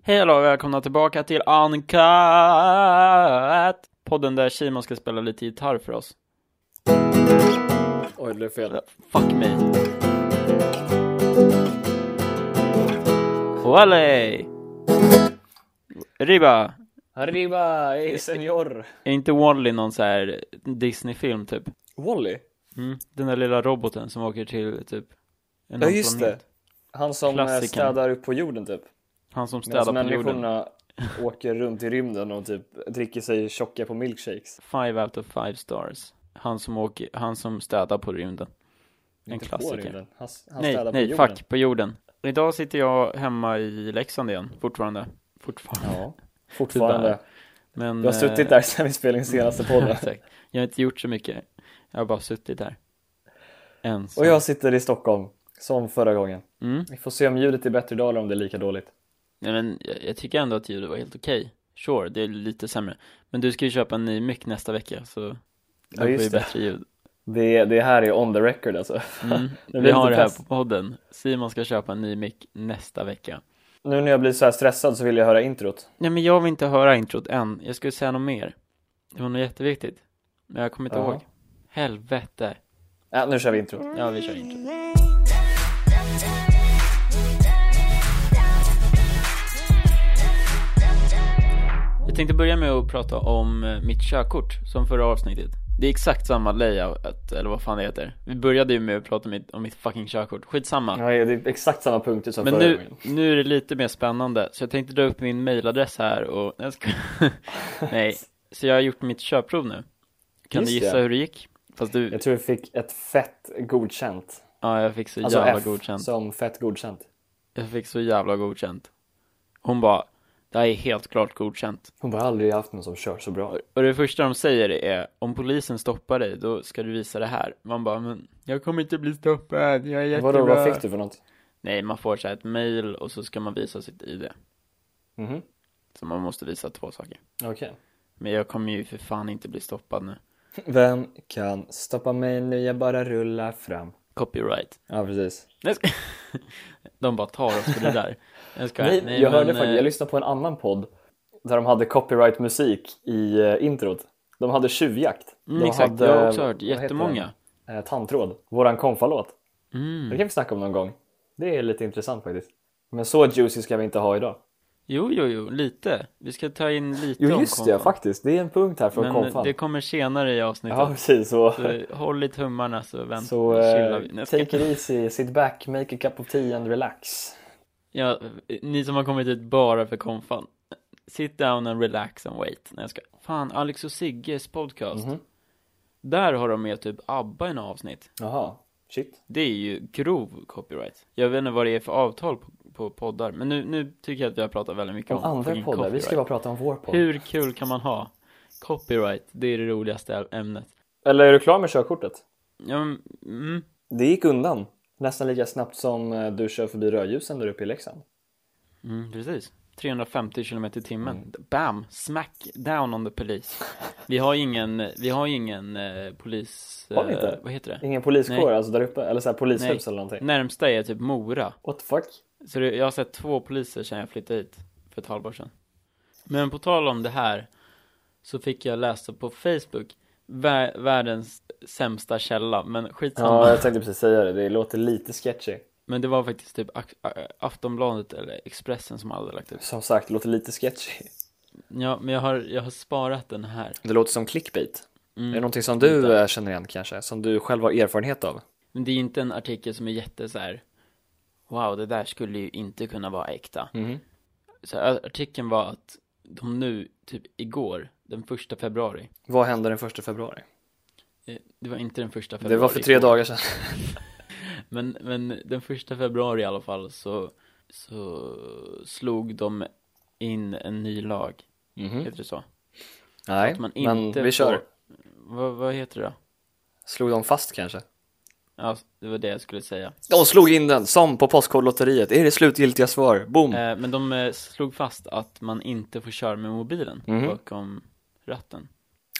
Hej alla och välkomna tillbaka till Uncut! Podden där Simon ska spela lite gitarr för oss. Oj, det blev fel. Fuck me. Wally! Riba! Arriba, ey senor! Är inte Wally någon så här Disney-film typ? Wally? Mm. Den där lilla roboten som åker till typ... en Ja, annan just det. planet. Han som eh, Klassikern. städar upp på jorden typ. Han som Medan städar på jorden. människorna åker runt i rymden och typ dricker sig tjocka på milkshakes. Five out of five stars. Han som åker, han som städar på rymden. En Inte på klassiker. rymden. Han, han nej, städar nej, på jorden. fuck, på jorden. Idag sitter jag hemma i Leksand igen, fortfarande. Fortfarande. Ja, Typ fortfarande. Tyvärr. Men, eh, Du har suttit där sedan vi spelade in senaste podden. Mm. exakt. Jag har inte gjort så mycket. Jag har bara suttit där. Ensam. och jag sitter i Stockholm, som förra gången. Mm. Vi får se om ljudet är bättre idag eller om det är lika dåligt. Nej, men jag, jag tycker ändå att ljudet var helt okej. Sure, det är lite sämre. Men du ska ju köpa en ny mick nästa vecka, så då får vi just det. bättre ljud. Det, det här är on the record alltså. Mm. vi blir lite har det här press. på podden. Simon ska köpa en ny mick nästa vecka. Nu när jag blir så här stressad så vill jag höra introt. Nej men jag vill inte höra introt än, jag skulle säga något mer Det var något jätteviktigt Men jag kommer inte Jaha. ihåg Helvete Ja, Äh, nu kör vi introt. Ja vi kör introt Jag tänkte börja med att prata om eh, mitt körkort som förra avsnittet Det är exakt samma layout, eller vad fan det heter Vi började ju med att prata om mitt, om mitt fucking körkort, skitsamma Ja, det är exakt samma punkter som Men förra nu, gången. nu är det lite mer spännande, så jag tänkte dra upp min mailadress här och jag ska... Nej, så jag har gjort mitt körprov nu Kan Just du gissa det. hur det gick? Fast du, Jag tror vi fick ett fett godkänt. ja jag fick så Alltså jävla F godkänt som fett godkänt. Jag fick så jävla godkänt Hon bara, det här är helt klart godkänt Hon bara aldrig haft någon som kört så bra. Och det första de säger är, om polisen stoppar dig, då ska du visa det här Man bara, men jag kommer inte bli stoppad, jag är jättebra Vadå, vad fick du för något? Nej, man får så här ett mail och så ska man visa sitt ID Mhm, Så man måste visa två saker okej. Men jag kommer ju för fan inte bli stoppad nu Vem kan stoppa mig nu, jag bara rullar fram. Copyright Ja, precis. Nej, jag ska... De bara tar oss för det där Jag skojar. Nej, jag men, hörde faktiskt, eh, jag lyssnade på en annan podd där de hade copyright musik i eh, introt. De hade tjuvjakt. mm, de Exakt, hade, jag har också hört vad heter jättemånga den? Eh, tandtråd, våran konfalåt. Det mm. kan vi snacka om någon gång. Det är lite intressant faktiskt. Men så juicy ska vi inte ha idag. Jo, jo, jo, lite Vi ska ta in lite Jo om just det, ja, konfan. faktiskt. Det är en punkt här från Men eh, konfan. det kommer senare i avsnittet Ja precis, så, så Håll i tummarna så väntar så chillar eh, vi Nej, jag take ska- it easy, sit back, make a cup of tea and relax. ja, Ni som har kommit hit bara för konfan Sit down and relax and wait Nej, jag ska... Fan, Alex och Sigges podcast Mhm. Där har de med typ ABBA i några avsnitt Jaha, shit. Det är ju grov copyright. Jag vet inte vad det är för avtal på, på poddar, men nu, nu tycker jag att vi har pratat väldigt mycket om, Om andra fucking poddar, vi ska bara prata om vår podd. Hur kul kan man ha? Copyright, det är det roligaste ämnet. Eller är du klar med körkortet? Ja, men, mm, Det gick undan. Nästan lika snabbt som eh, du kör förbi rödljusen där uppe i Leksand. mm, precis. 350 km i timmen. Mm. Bam! Smack down on the police. Vi har ju ingen, vi har ju ingen eh, polis... Har vi inte? Eh, vad heter det? Ingen poliskår Nej. alltså där uppe, eller så här polishus eller någonting. Närmsta är typ Mora. What the fuck? Så det, jag har sett två poliser sedan jag flyttade hit för ett halvår sedan. Men på tal om det här så fick jag läsa på Facebook vä- världens sämsta källa, men skitsamma. Ja, jag tänkte precis säga det. Det låter lite sketchy. Men det var faktiskt typ Ak- Ä- Aftonbladet eller Expressen som hade lagt ut. Som sagt, det låter lite sketchy. Ja, men jag har, jag har sparat den här. Det låter som clickbait. Mm. Är det någonting som du eh, känner igen kanske? Som du själv har erfarenhet av? Men det är inte en artikel som är jätte så här. Wow, det där skulle ju inte kunna vara äkta. Mhm. Så här, artikeln var att de nu, typ igår, den första februari, Vad hände den första februari? eh, det var inte den första februari. Det var för tre igår. dagar sedan. Men, men den första februari i alla fall så, så slog de in en ny lag, heter det så? Nej, Att man Mhm. men inte vi kör. får- Vad, vad heter det då? Slog de fast kanske? Ja, det var det jag skulle säga. De slog in den, som på Postkodlotteriet. Är det slutgiltiga svar? Boom! Eh, men de eh, slog fast att man inte får köra med mobilen Mhm. bakom ratten.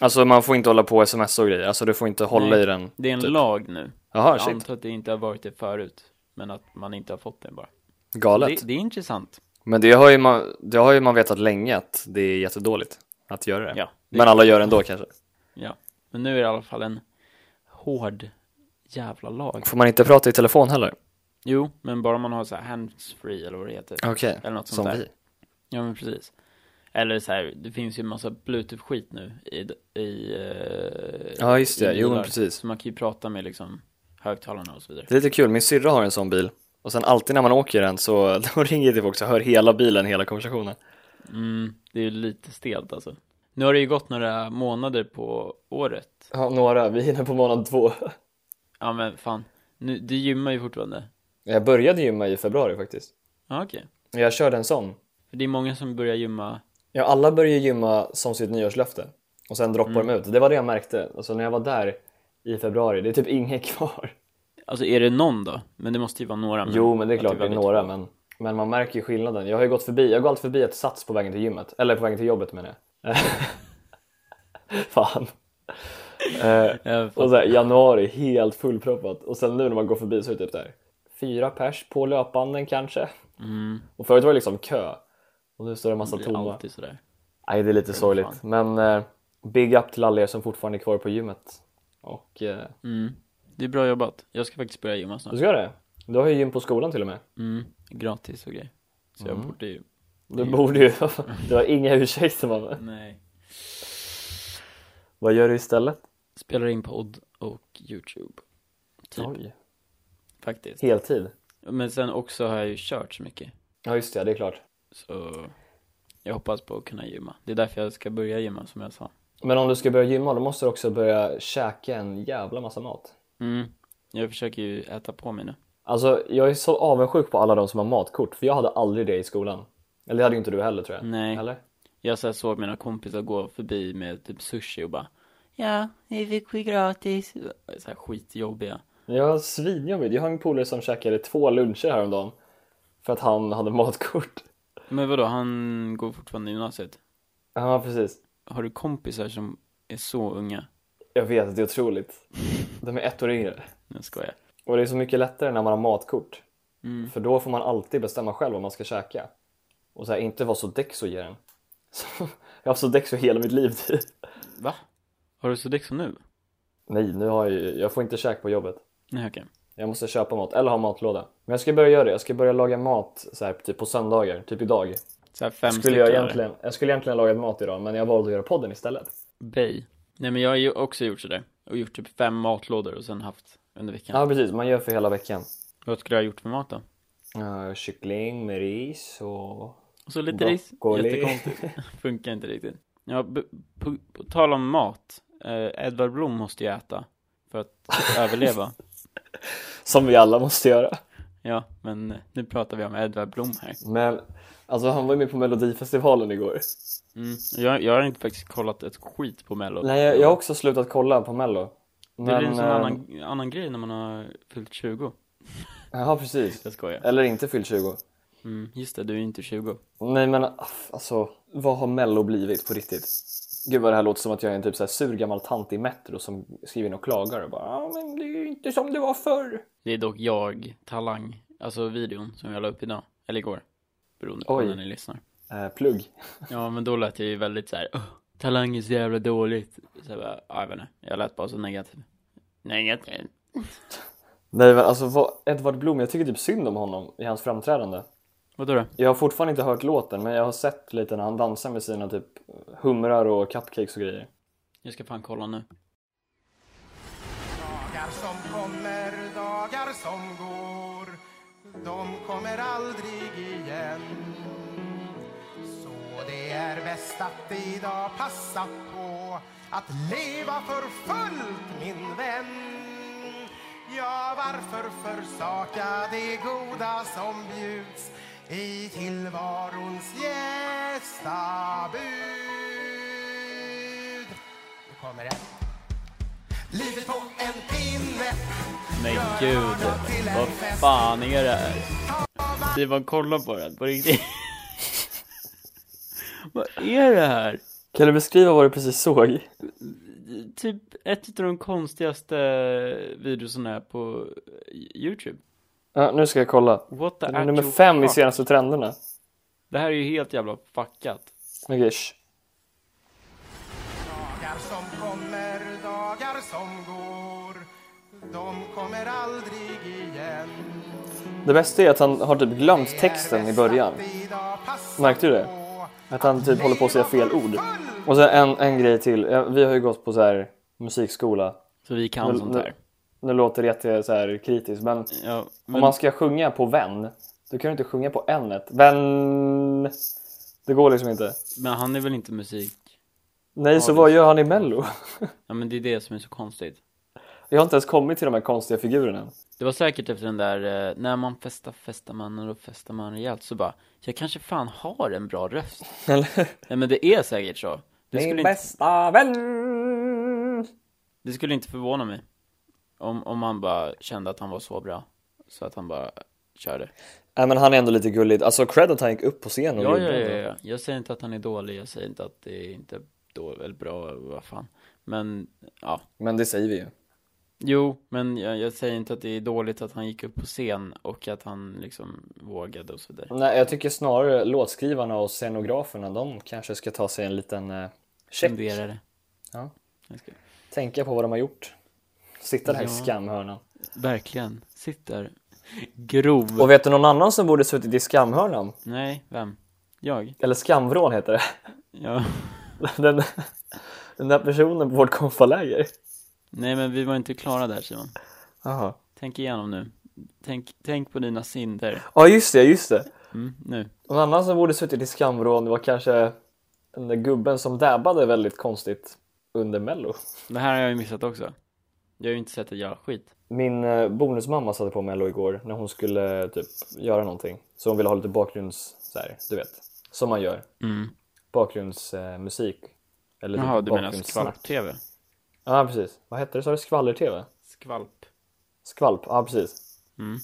Alltså man får inte hålla på sms och grejer. Alltså du får inte hålla Nej, i den. Det är en typ. lag nu. Jaha, jag shit. antar att det inte har varit det förut, men att man inte har fått den bara. Galet. Det, det är intressant. Men det har, ju man, det har ju man vetat länge att det är jättedåligt att göra det. Ja, det- Men alla gör det ändå kanske. Men nu är det i alla fall en hård jävla lag. Får man inte prata i telefon heller? Jo, men bara man har så här handsfree eller vad det heter. Okej, Eller något som sånt där. vi. Ja men precis. Eller så här, det finns ju en massa bluetooth-skit nu i, i eh, Ja, just i det. Jo, men bilar. precis. Så man kan ju prata med liksom högtalarna och så vidare. Det är lite kul, min syrra har en sån bil och sen alltid när man åker i den så då ringer det folk så hör hela bilen hela konversationen. Mm, det är ju lite stelt alltså. Nu har det ju gått några månader på året. Ja, några. Vi är inne på månad två. Ja men fan, nu, du gymmar ju fortfarande. Jag började gymma i februari faktiskt. Ja okej. Jag körde en sån. För det är många som börjar gymma, Ja, alla börjar gymma som sitt nyårslöfte och sen droppar de ut. Det var det jag märkte. Alltså när jag var där i februari, det är typ ingen kvar. alltså är det någon då? Men det måste ju vara några. men Jo, men det är att klart, det är väldigt några, få. men, men man märker ju skillnaden. Jag har ju gått förbi, jag går alltid förbi ett sats på vägen till gymmet, eller på vägen till jobbet menar jag. Fan. Eh, Ja, Och fan. så här, januari helt fullproppat och sen nu när man går förbi så är det typ där fyra pers på löpbanden kanske. Mm, Och förut var det liksom kö och nu står det en det massa blir tomma. alltid sådär. Nej, det är lite sorgligt, men eh, big up till alla er som fortfarande är kvar på gymmet. Och eh, Mm. Det är bra jobbat. Jag ska faktiskt börja gymma snart. du ska göra det. Du har ju gym på skolan till och med. Mm, gratis och grejer. Så Mm. jag borde ju, Du borde ju. du har inga ursäkter man. nej. Vad gör du istället? Spelar in podd och YouTube, Typ. Oj. faktiskt. Heltid. Men sen också har jag ju kört så mycket. Ja just det, det är klart. Så jag hoppas på att kunna gymma. Det är därför jag ska börja gymma som jag sa. Men om du ska börja gymma då måste du också börja käka en jävla massa mat. Mm. Jag försöker ju äta på mig nu. Alltså jag är så avundsjuk på alla de som har matkort för jag hade aldrig det i skolan. Eller det hade ju inte du heller tror jag. Nej. Eller? Jag så här såg mina kompisar gå förbi med typ sushi och bara Ja, vi fick ju gratis. Så här skitjobbiga. Ja, svinjobbigt. Jag har en polare som käkade två luncher häromdagen för att han hade matkort. Men vadå, han går fortfarande i gymnasiet. Ja, precis. Har du kompisar som är så unga? Jag vet, det är otroligt. De är ett år yngre. Nu skojar jag. Och det är så mycket lättare när man har matkort. Mm. För då får man alltid bestämma själv vad man ska käka. Och så här, inte vad Sodexo ger en. Så, jag har haft Sodexo hela mitt liv typ. Va? Har du Sodexo nu? Nej, nu har jag ju, jag får inte käka på jobbet. Nej okej. Jag måste köpa mat, eller ha matlåda. Men jag ska börja göra det. Jag ska börja laga mat så här, typ på söndagar, typ idag. Så här fem Skulle jag, stycken, egentligen, jag skulle egentligen ha lagat mat idag, men jag valde att göra podden istället. Bej. Nej men jag har ju också gjort sådär. Och gjort typ fem matlådor och sen haft under veckan. Ja, precis. Man gör för hela veckan. Vad skulle jag ha gjort för mat då? Uh, kyckling med ris och... Och så lite ris. Broccoli. Jättekonstigt. Funkar inte riktigt. Ja, b- på, på tal om mat. Eh, Edvard Blom måste ju äta. För att överleva. Som vi alla måste göra. Ja, men eh, nu pratar vi om Edvard Blom här. Men alltså, han var ju med på Melodifestivalen igår. Mm. Jag, jag har inte faktiskt kollat ett skit på mello. Nej, jag, jag har också slutat kolla på Mello. Men, Det blir en sån eh, annan, annan grej när man har fyllt 20. Ja, precis. Jag skojar. Eller inte fyllt 20. Mm, just det, du är ju inte 20. Nej, men aff, alltså, vad har Mello blivit på riktigt? Gud vad det här låter som att jag är en typ så här sur gammal tant i Metro som skriver in och klagar och bara ah, men det är ju inte som det var förr. Det är dock jag, Talang, alltså videon som jag la upp idag, eller igår. Beroende på Oj. när ni lyssnar. Eh, plugg. Ja, men då lät jag ju väldigt så här. "Åh, Talang är så jävla dåligt. Så jag bara, "Ja, jag vet inte, jag lät bara så negativ. Negativ. Nej men alltså vad, Edvard Blom, jag tycker typ synd om honom i hans framträdande. Vadå då? Jag har fortfarande inte hört låten men jag har sett lite när han dansar med sina typ humrar och cupcakes och grejer. Jag ska fan kolla nu. Dagar som kommer, dagar som går De kommer aldrig igen Så det är bäst att idag passa på Att leva för fullt min vän Ja, varför försaka det goda som bjuds i tillvarons gästabud Nu kommer det. Livet på en pinne Men gud, vad fan är det här? Simon, kolla på den på riktigt. vad är det här? Kan du beskriva vad du precis såg? Typ ett av de konstigaste videorna på Youtube. Ja, nu ska jag kolla. What the Den är nummer actual fem i fuck? senaste trenderna. Det här är ju helt jävla fuckat. Okej, sh. Dagar som kommer, dagar som går De kommer aldrig igen Det bästa är att han har typ glömt texten i början. Märkte du det? Att han typ håller på att säga fel ord. Och sen en, en grej till. Ja, Vi har ju gått på så här musikskola. Så vi kan Nu- sånt här. Nu, nu låter det jätte så här kritiskt, men, Ja, om men, man ska sjunga på vän, då kan du inte sjunga på änet. Vän. Det går liksom inte. men han är väl inte musik? Nej, så det- vad gör han i Mello? Ja men det är det som är så konstigt. Jag har inte ens kommit till de här konstiga figurerna än. Det var säkert efter den där, eh, när man festar festar man och då festar man rejält så bara, jag kanske fan har en bra röst. Eller? Nej men det är säkert så. Det skulle, inte, bästa vän! det skulle inte förvåna mig. Om, om han bara kände att han var så bra. Så att han bara körde. Nej men han är ändå lite gullig. Alltså cred att han gick upp på scen och Ja, ja, gjorde ja, det. ja. Jag säger inte att han är dålig, jag säger inte att det är inte dåligt eller bra, vad fan. Men, ja. Men det säger vi ju. Jo, men jag, jag säger inte att det är dåligt att han gick upp på scen och att han liksom vågade och så vidare. Nej, jag tycker snarare låtskrivarna och scenograferna, de kanske ska ta sig en liten eh, check. Funderade. Ja. Ganska. Tänka på vad de har gjort. Sitta där i Ja. skamhörnan. Verkligen. Sitter. Grov. Och vet du någon annan som borde suttit i skamhörnan? Nej, vem? Jag? Eller skamvrån heter det. Ja. Den, den där personen på vårt konfaläger. Nej, men vi var inte klara där Simon. Jaha. Tänk igenom nu. Tänk, tänk på dina synder. Ja, just det, just det. Mm, nu. Någon annan som borde suttit i skamvrån var kanske den där gubben som dabbade väldigt konstigt under mello. Det här har jag ju missat också. Jag har ju inte sett ett jävla skit. Min eh, bonusmamma satte på mello igår när hon skulle eh, typ göra någonting. Så hon ville ha lite bakgrunds, så här, du vet, som man gör. Mm. Bakgrundsmusik. Eller typ Jaha, du menar bakgrundssnack. skvalp-tv? Ja, precis. Vad hette det? Sa du skvaller-tv? Skvalp. Skvalp, ja precis. Mm.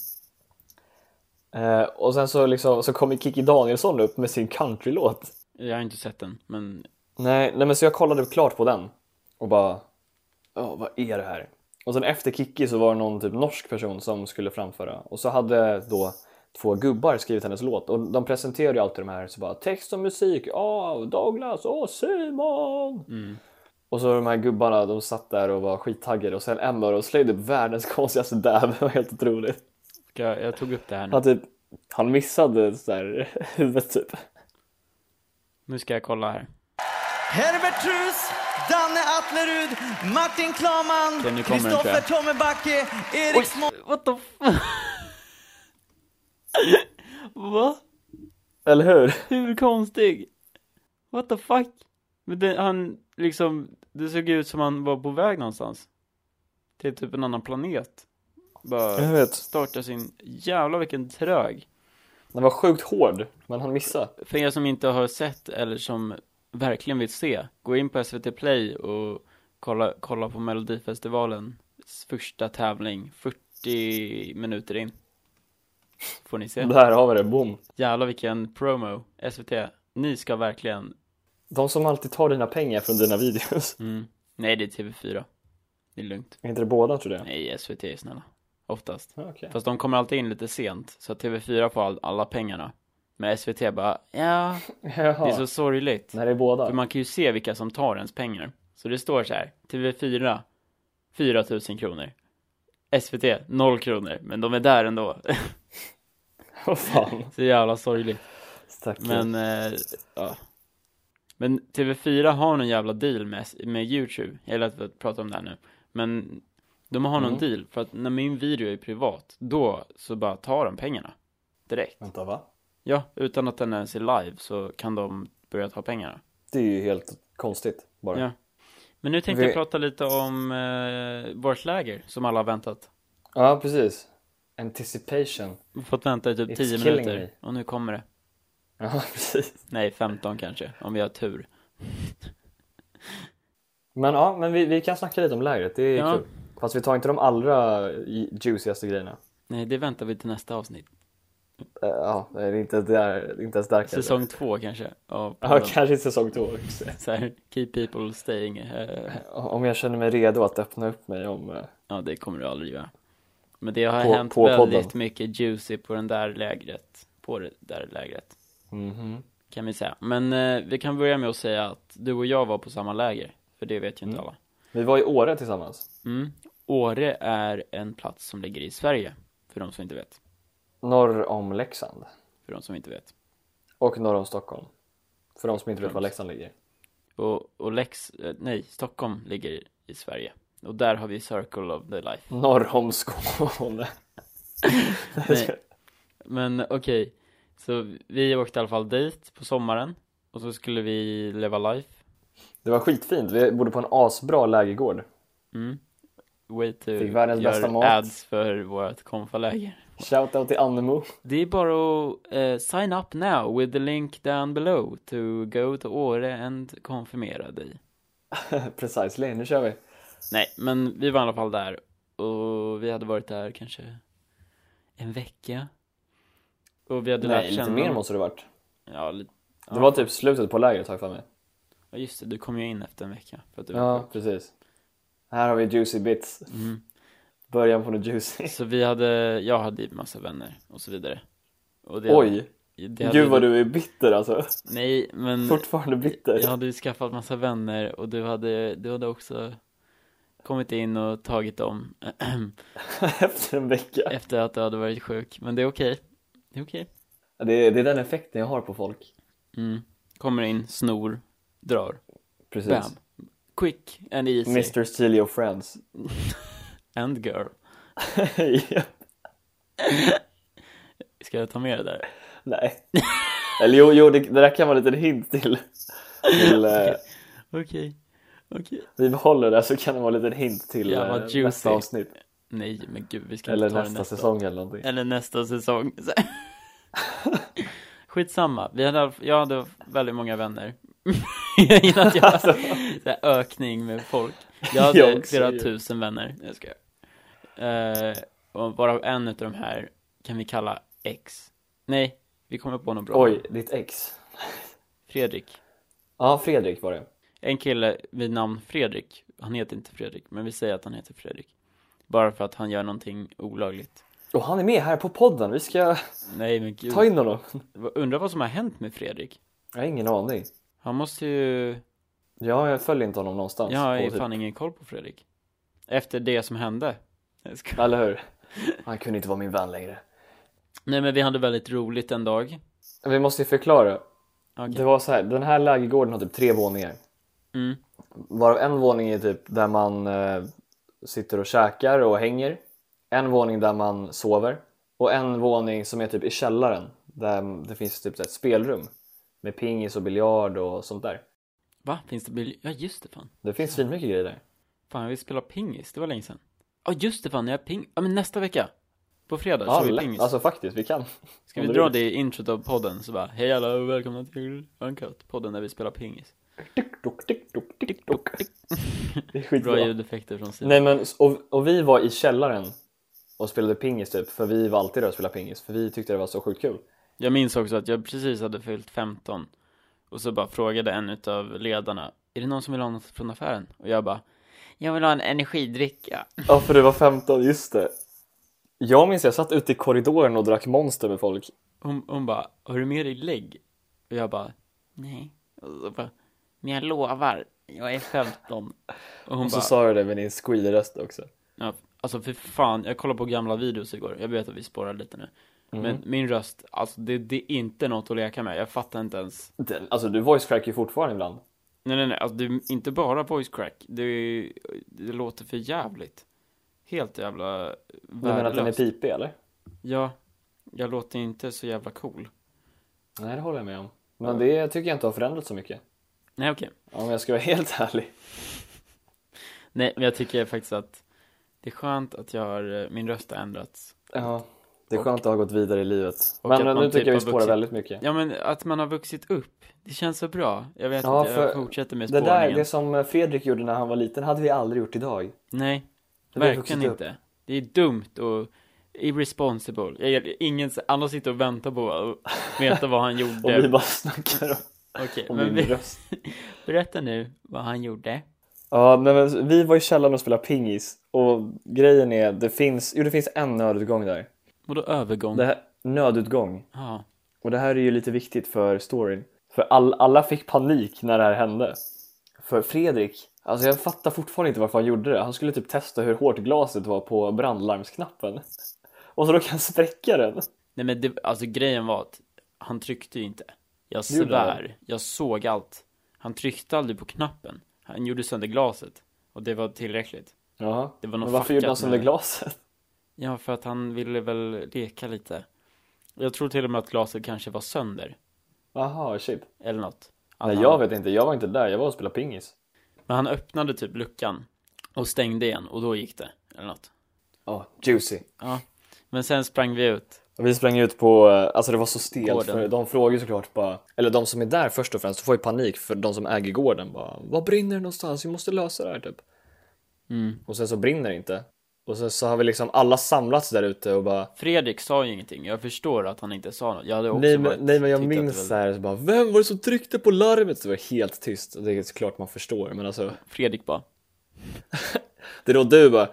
Eh, och sen så, liksom, så kom ju Kikki Danielsson upp med sin countrylåt. Jag har inte sett den, men Nej, nej men så jag kollade klart på den och bara, ja vad är det här? Och sen efter Kikki så var det någon typ norsk person som skulle framföra och så hade då två gubbar skrivit hennes låt och de presenterade ju alltid de här så bara text och musik, ja Douglas, och Simon. Och så de här gubbarna, de satt där och var skittaggade och sen en av dem slängde upp världens konstigaste dab, det var helt otroligt. ska jag, jag tog upp det här nu. Han typ, han missade så här huvudet typ. Nu ska jag kolla här. Herbert Trus, Danne Atlerud, Martin Okej, Klaman, nu kommer den, tror Kristoffer jag. Tommebacke, Erik Små... What the f- Va? Eller hur? Hur konstig? What the fuck? Men det, han liksom, det såg ut som han var på väg någonstans. Till typ en annan planet. Bara vet. starta sin, jävla vilken trög. Den var sjukt hård, men han missade. För er som inte har sett eller som verkligen vill se, gå in på SVT Play och kolla, kolla på Melodifestivalens första tävling, 40 minuter in. Får ni se. Där har vi det, boom. Jävlar vilken promo, SVT. Ni ska verkligen De som alltid tar dina pengar från dina videos. Mm. Nej, det är TV4. Det är lugnt. Är inte det båda tror jag? Nej, SVT är snälla. Oftast. Ja, okej. Fast de kommer alltid in lite sent, så att TV4 får all, alla pengarna. Men SVT bara, ja, Jaha. det är så sorgligt. När det är båda? För man kan ju se vilka som tar ens pengar. Så det står så här, TV4, 4 000 kronor. SVT, 0 kronor. Men de är där ändå. Vad fan. så jävla sorgligt. Stackare. Men, eh, ja. Men TV4 har någon jävla deal med, med YouTube, eller att vi pratar om det här nu. Men de har någon Mm. deal, för att när min video är privat, då så bara tar de pengarna. Direkt. Vänta, va? Ja, utan att den ens är live så kan de börja ta pengarna. Det är ju helt konstigt bara. Ja. Men nu tänkte Vi- jag prata lite om eh, vårt läger, som alla har väntat. Ja, precis. Anticipation. Vi har fått vänta i typ It's 10 killing minuter, me. och nu kommer det. Ja, precis. Nej, 15 kanske, om vi har tur. Men ja, men vi, vi kan snacka lite om lägret. Det är Ja. kul. Fast vi tar inte de allra juicigaste grejerna. Nej, det väntar vi till nästa avsnitt. Eh, Ja, det är inte, det är inte ens där kanske. Säsong två kanske. av Ja, podden. kanske säsong två också. så här, keep people staying. eh, Om jag känner mig redo att öppna upp mig om... eh, ja, det kommer du aldrig göra. Men det har På- hänt på podden. väldigt mycket juicy på den där lägret. På det där lägret. Mhm. kan vi säga. Men eh, vi kan börja med att säga att du och jag var på samma läger, för det vet ju inte Mm. alla. Vi var i Åre tillsammans. Mm. Åre är en plats som ligger i Sverige, för de som inte vet. Norr om Leksand. För de som inte vet. Och norr om Stockholm. För de som inte vet var Leksand ligger. Och, och Lex, eh, nej, Stockholm ligger i- i Sverige. Och där har vi Circle of the Life. Norr om Skåne. Nej. Men okej, så vi åkte i alla fall dit på sommaren. Och så skulle vi leva life. Det var skitfint. Vi bodde på en asbra lägergård. Mm. Way to Fick världens gör bästa mat. ads för vårt konfaläger. Shoutout till Annemo. Det är bara att eh, sign up now with the link down below to go to Åre and konfirmera dig. Precisely, nu kör vi. Nej, men vi var i alla fall där och vi hade varit där kanske en vecka. Och vi hade Nej, lärt lite känna... mer måste det varit. Ja, lite... Det var typ slutet på lägret har jag för mig. ja, just det, du kom ju in efter en vecka. För att du var Ja, precis. Här har vi juicy bits. sjuk. mm. Början på något juicy. Så vi hade, jag hade ju massa vänner och så vidare. Och det Oj, det Mm. hade gud vad du är bitter alltså. Nej, men... Fortfarande bitter. Jag hade ju skaffat massa vänner och du hade, du hade också kommit in och tagit dem Efter en vecka. efter att du hade varit sjuk. Men det är okej. Det är okej. Det är, det är den effekten jag har på folk. Mm. Kommer in, snor, drar. Precis. Bam. Quick and easy. Mr Steely och Friends. And girl. Ja. Ska jag ta med det där? Nej. Eller jo, jo det, det där kan vara en liten hint till. till eh, Okej. Okej. vi behåller det så kan det vara en liten hint till Ja, vad eh, juicy. nästa avsnitt. Nej, men gud, vi ska Eller inte ta nästa, det nästa. säsong eller någonting. Eller nästa säsong. Skitsamma. Vi hade, all- jag hade väldigt många vänner. Innan att jag Alltså. så här, ökning med folk. Jag Jag hade också flera ju. tusen vänner. Jag ska. Uh, och varav en av de här kan vi kalla X. Nej, vi kommer på något bra. Oj, ditt ex. Fredrik. Ja, Fredrik var det. En kille vid namn Fredrik. Han heter inte Fredrik, men vi säger att han heter Fredrik. Bara för att han gör någonting olagligt. Och han är med här på podden. Vi ska Nej men gud. ta in honom. Undrar vad som har hänt med Fredrik? Jag har ingen aning. Han måste ju... Ja, jag följer inte honom någonstans. Jag har ju Och typ- fan ingen koll på Fredrik. Efter det som hände. Jag ska... Eller hur? Han kunde inte vara min vän längre. Nej men vi hade väldigt roligt en dag. Vi måste ju förklara. Okej. Det var så här, den här lägergården har typ tre våningar. Mm. Varav en våning är typ där man eh, sitter och käkar och hänger. En våning där man sover. Och en våning som är typ i källaren. Där det finns typ så här ett spelrum. Med pingis och biljard och sånt där. Va? Finns det bil... Ja just det fan. Det finns svinmycket grejer där. Fan jag vill spela pingis, det var länge sedan. Ja just det fan, jag har ping... Ja men nästa vecka. På fredag Ja, kör vi lätt. pingis. Alltså faktiskt, vi kan. Ska om vi du dra vill. det i introt av podden så bara, hej alla och välkomna till Uncut, podden där vi spelar pingis. Tick-tock, tick-tock, tick-tock. Det är skitbra. Bra ljudeffekter från sidan. Nej men, s- och, och vi var i källaren och spelade pingis typ, för vi var alltid där och spelade pingis, för vi tyckte det var så sjukt kul. Jag minns också att jag precis hade fyllt 15 och så bara frågade en utav ledarna, är det någon som vill ha något från affären? Och jag bara, jag vill ha en energidricka. Ja, för du var 15, just det. Jag minns jag satt ute i korridoren och drack monster med folk. Hon, hon bara, har du med dig lägg? Och jag bara, nej. Och så bara, men jag lovar, jag är 15. Och hon Och så bara, sa du det med din squealerröst också. Ja, alltså för fan, jag kollade på gamla videos igår, jag vet att vi spårar lite nu Mm. Men min röst, alltså det, det är inte något att leka med, jag fattar inte ens Den, alltså du voice crackar ju fortfarande ibland. Nej nej nej, alltså det är inte bara voice crack, det, är- det låter för jävligt Helt jävla Du menar att den är värdelöst pipig eller? Ja, jag låter inte så jävla cool Nej, det håller jag med om. Men det tycker jag inte har förändrats så mycket. Nej okej, Om jag ska vara helt ärlig. nej men jag tycker faktiskt att det är skönt att jag har, eh, min röst har ändrats Ja. Det är skönt att ha gått vidare i livet. och att Men eh, man nu typ tycker jag vi har spårar vuxit. väldigt mycket. Ja men att man har vuxit upp, det känns så bra Jag vet Ja, att jag för fortsätter med Det spårningen där, det som Fredrik gjorde när han var liten hade vi aldrig gjort idag. Nej, Det har verkligen vuxit upp. inte. Det är dumt och irresponsible. Jag, ingen, alla sitter och väntar på att veta vad han Och vi gjorde. bara snackar om, Okej, om men din vi, röst. berätta nu vad han gjorde. Ja, nej, men vi var i källaren och spelade pingis och grejen är, det finns, jo det finns en nödutgång där. Och då övergång. Det här, nödutgång. Ja, Och det här är ju lite viktigt för storyn. För all, alla fick panik när det här hände. För Fredrik, alltså jag fattar fortfarande inte varför han gjorde det. Han skulle typ testa hur hårt glaset var på brandlarmsknappen. Och så råkade han spräcka den. Nej men det, alltså grejen var att han tryckte ju inte. Jag Det gjorde han. svär, jag såg allt. Han tryckte aldrig på knappen. Han gjorde sönder glaset. Och det var tillräckligt. Jaha. Det var något Men varför fuckat gjorde han sönder med- glaset? Ja, för att han ville väl leka lite. Jag tror till och med att glaset kanske var sönder. Jaha, shit. Eller något. Att Nej, han- jag vet inte. Jag var inte där. Jag var och spelade pingis. Men han öppnade typ luckan. Och stängde igen. Och då gick det. Eller något. Ja, juicy. Ja. Men sen sprang vi ut. Och vi sprang ut på, eh, alltså det var så stelt Gården. för de frågar ju såklart bara, eller de som är där först och främst får ju panik för de som äger gården bara, vad brinner det någonstans? Vi måste lösa det här typ. Mm. Och sen så brinner det inte. Och sen så har vi liksom alla samlats där ute och bara, Fredrik sa ju ingenting. Jag förstår att han inte sa något. Jag hade också nej varit- men, nej, men jag tyckt att det minns var- såhär så bara, vem var det som tryckte på larmet? Så det var helt tyst och det är såklart man förstår men alltså, Fredrik bara. det är då du bara,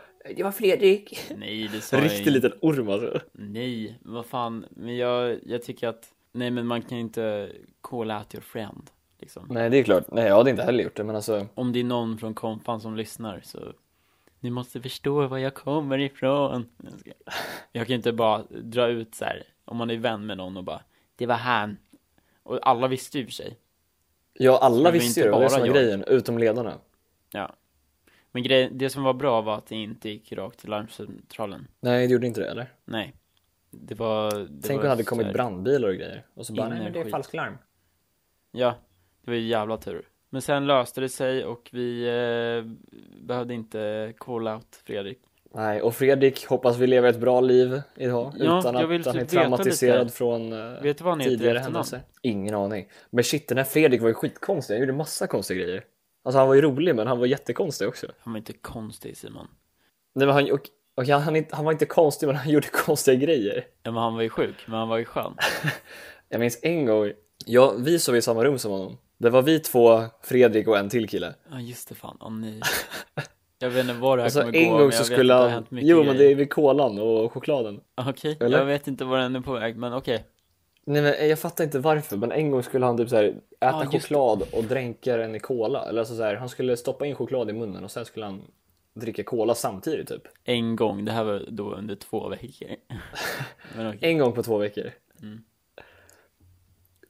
Nej, det sa jag riktig liten orm alltså. Nej, vad fan. Men jag, jag tycker att, nej men man kan ju inte call out your friend. Liksom. Nej det är klart, nej jag hade inte heller gjort det men alltså, Om det är någon från kompan som lyssnar så, ni måste förstå var jag kommer ifrån. Jag ska- Jag kan ju inte bara dra ut så här, om man är vän med någon och bara, det var han. Och alla visste ju i och för sig. ja alla Men det är inte visste ju det, det var det bara som var jag. grejen, utom ledarna. Ja. Men grej, det som var bra var att det inte gick rakt till larmcentralen. Nej det gjorde inte det eller? Nej. Det var... Det Tänk om var det hade så kommit här- brandbilar och grejer. Och så bara, Inner nej men det är skit. falsklarm. Ja, det var ju jävla tur. Men sen löste det sig och vi eh, behövde inte call out Fredrik. Nej, och Fredrik hoppas vi lever ett bra liv idag Ja, utan jag att vill han typ är veta traumatiserad lite. från eh, Vet du vad han heter i tidigare efternamn? händelser. Ingen aning. Men shit, den här Fredrik var ju skitkonstig. Han gjorde massa konstiga grejer. Alltså han var ju rolig, men han var jättekonstig också. Han var inte konstig Simon. Nej, men han, och, och han, han, inte- han var inte konstig, men han gjorde konstiga grejer. Ja, men han var ju sjuk, men han var ju skön. Jag minns en gång, ja, vi sov i samma rum som honom. Det var vi två, Fredrik och en till kille. Ja, just det fan. Åh nej. Jag vet inte vad det här Och så kommer gå, Alltså, en men gång jag så vet skulle att det har han... hänt mycket Jo, men det grejer. är vid kolan och chokladen. Okej, Eller? jag vet inte var den är på väg, men okej. Nej men jag fattar inte varför, men en gång skulle han typ så här äta Ja, just det. choklad och dränka den i cola. Eller alltså så här, han skulle stoppa in choklad i munnen och sen skulle han dricka cola samtidigt typ. En gång, det här var då under två veckor. Men okej. En gång på två veckor. Mm.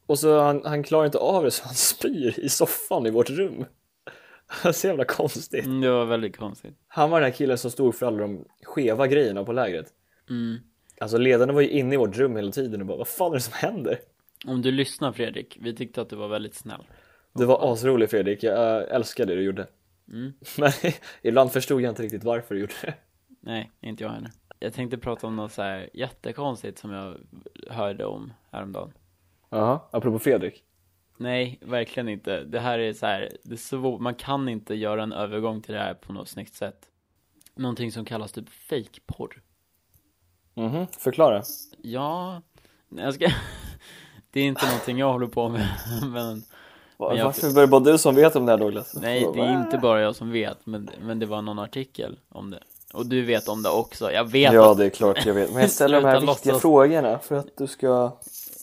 Och så han, han klarar inte av det så han spyr i soffan i vårt rum. Så jävla konstigt. Mm, Det var väldigt konstigt. Han var den här killen som stod för alla de skeva grejerna på lägret. Mm. Alltså ledarna var ju inne i vårt rum hela tiden och bara vad fan är det som händer? Om du lyssnar Fredrik, vi tyckte att du var väldigt snäll. Du var asrolig Fredrik, jag äh, älskar det du gjorde. Mm. Men ibland förstod jag inte riktigt varför du gjorde det. Nej, inte jag heller. Jag tänkte prata om något så här jättekonstigt som jag hörde om häromdagen. Jaha, apropå Fredrik. Nej, verkligen inte. Det här är så här, det är svår, man kan inte göra en övergång till det här på något snyggt sätt. Någonting som kallas typ fejkporr. Mhm, förklara. Ja, nej, jag ska... Det är inte någonting jag håller på med, men Men jag- Varför var det bara du som vet om det här Douglas? nej, det är inte bara jag som vet, men, men det var någon artikel om det. Och du vet om det också, jag vet Ja, att... det är klart jag vet. Men jag ställer de här Sluta viktiga låtsas. frågorna för att du ska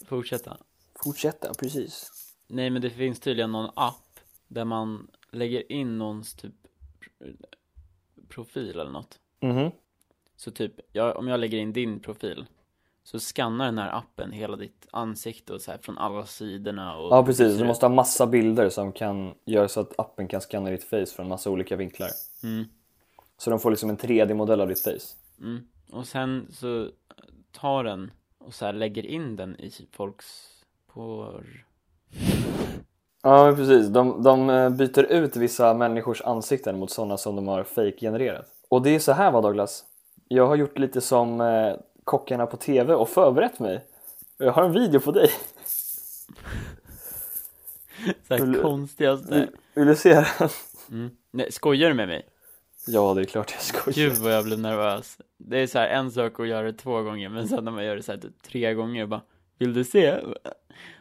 Fortsätta. fortsätta, precis. Nej men det finns tydligen någon app där man lägger in någons typ pr- profil eller något. Mhm. Så typ, jag, om jag lägger in din profil så skannar den här appen hela ditt ansikte och så här från alla sidorna och Ja, precis. Du måste ha massa bilder som kan göra så att appen kan scanna ditt face från massa olika vinklar. Mm. Så de får liksom en 3D-modell av ditt face. mm. Och sen så tar den och så här lägger in den i folks porr. Ja, precis. De, de eh, byter ut vissa människors ansikten mot sådana som de har fake-genererat. Och det är så här va Douglas? Jag har gjort lite som eh, kockarna på TV och förberett mig. Jag har en video på dig. Så här Vill- konstigaste. Vill, vill du se den? Mm. Nej, skojar du med mig? Ja, det är klart jag skojar. Gud vad jag blev nervös. Det är så här en sak att göra det två gånger, men sen när man gör det så här typ tre gånger, jag bara Vill du se?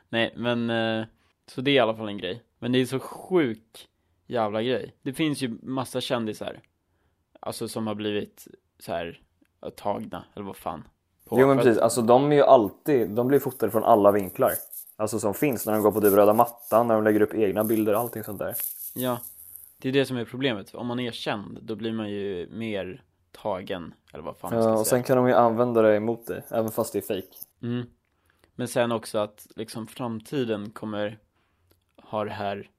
Nej, men eh, så det är i alla fall en grej. Men det är så sjuk jävla grej. Det finns ju massa kändisar, alltså som har blivit så här eh, tagna, eller vad fan, på på. Jo men för att- precis, alltså de är ju alltid, de blir fotade från alla vinklar. Alltså som finns när de går på typ röda mattan, när de lägger upp egna bilder och allting sånt där. Ja, det är det som är problemet. Om man är känd, då blir man ju mer tagen, eller vad fan man ska Ja, och säga. sen kan de ju använda det emot dig, även fast det är fake. Mm. Men sen också att liksom framtiden kommer ha det här,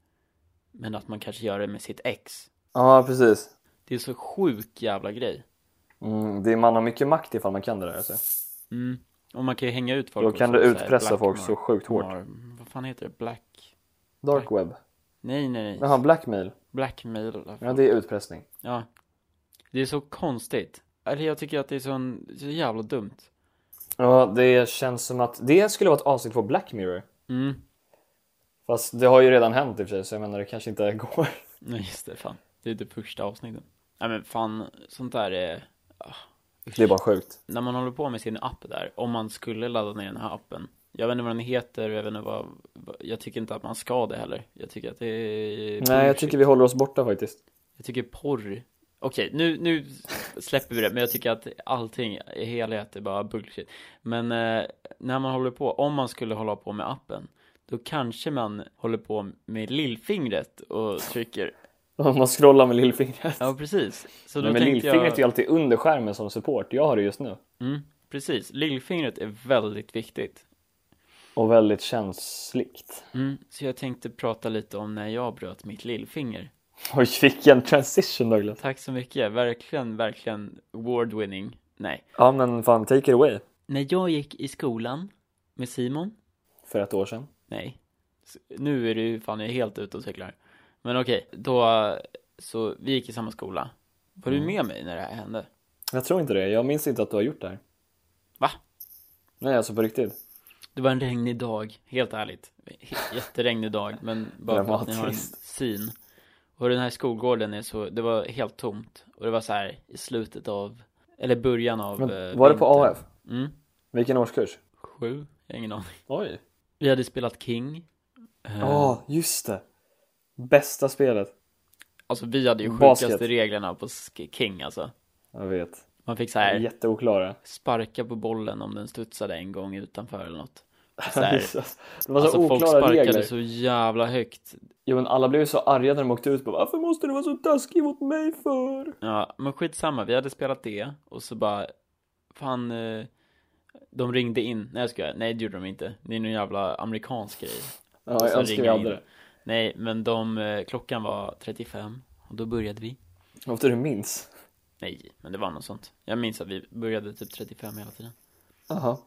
men att man kanske gör det med sitt ex. Ja, precis. Det är så sjuk jävla grej. Mm, det är, man har mycket makt ifall man kan det där alltså. Mm. Och man kan ju hänga ut folk Då kan också, du så här, utpressa black folk mar- så sjukt hårt. mar- vad fan heter det? Black? Dark web. Nej, nej, nej. Jaha, blackmail. Blackmail. eller vad Ja, fan. det är utpressning. Ja. Det är så konstigt. Eller jag tycker att det är sån, så jävla dumt. Ja, det känns som att det skulle vara ett avsnitt på Black Mirror. Mm. Fast det har ju redan hänt i och för sig, så jag menar det kanske inte går. Nej just det, fan. Det är det första avsnittet. Nej men fan, sånt där är... ah, usch. Det är bara sjukt. När man håller på med sin app där, om man skulle ladda ner den här appen. Jag vet inte vad den heter, jag vet inte vad... vad- Jag tycker inte att man ska det heller. Jag tycker att det är... Nej, jag bullshit. tycker vi håller oss borta faktiskt. Jag tycker porr... Okej, nu, nu släpper vi det, men jag tycker att allting i helhet är bara bullshit. Men eh, när man håller på, om man skulle hålla på med appen, då kanske man håller på med lillfingret och trycker Om man scrollar med lillfingret. Ja precis, så då Men tänkte lillfingret är jag ju alltid under skärmen som support. Jag har det just nu. mm, Precis, lillfingret är väldigt viktigt Och väldigt känsligt. mm, Så jag tänkte prata lite om när jag bröt mitt lillfinger Oj, vilken transition Douglas. Tack så mycket, verkligen, verkligen award winning Nej, Ja, men fan, take it away. när jag gick i skolan med Simon För ett år sedan. Nej, S- nu är det ju fan jag är helt ute och cyklar Men okej, då så vi gick i samma skola Var du med mig när det här hände? Jag tror inte det. Jag minns inte att du har gjort det här. Va? Nej, alltså på riktigt. Det var en regnig dag, helt ärligt. He- Jätteregnig dag, men bara för att ni har en Dramatiskt. syn. Och den här skolgården är så, det var helt tomt. Och det var så här i slutet av, eller början av Men, eh, var det på vintern. AF? Mm, Vilken årskurs? sju, jag har ingen aning. Oj. Vi hade spelat King. Eh, Ja, just det. Bästa spelet. Alltså vi hade ju basket. sjukaste reglerna på sk- King alltså. Jag vet. Man fick så De är här Jätteoklara. sparka på bollen om den studsade en gång utanför eller något. Så här. Det var så Alltså folk oklara sparkade regler. så jävla högt. Jo, men alla blev ju så arga när de åkte ut. Bara, Varför måste du vara så taskig mot mig för? Ja, men skitsamma, vi hade spelat det och så bara, fan, eh, de ringde in, nej jag skojar, nej det gjorde de inte, det är någon jävla amerikansk grej Och Ja, jag sen önskar Alltså, ringer jag hade in. det. Nej, men de, eh, klockan var 35 och då började vi Om inte du minns. Nej, men det var något sånt Jag minns att vi började typ 35 hela tiden Aha.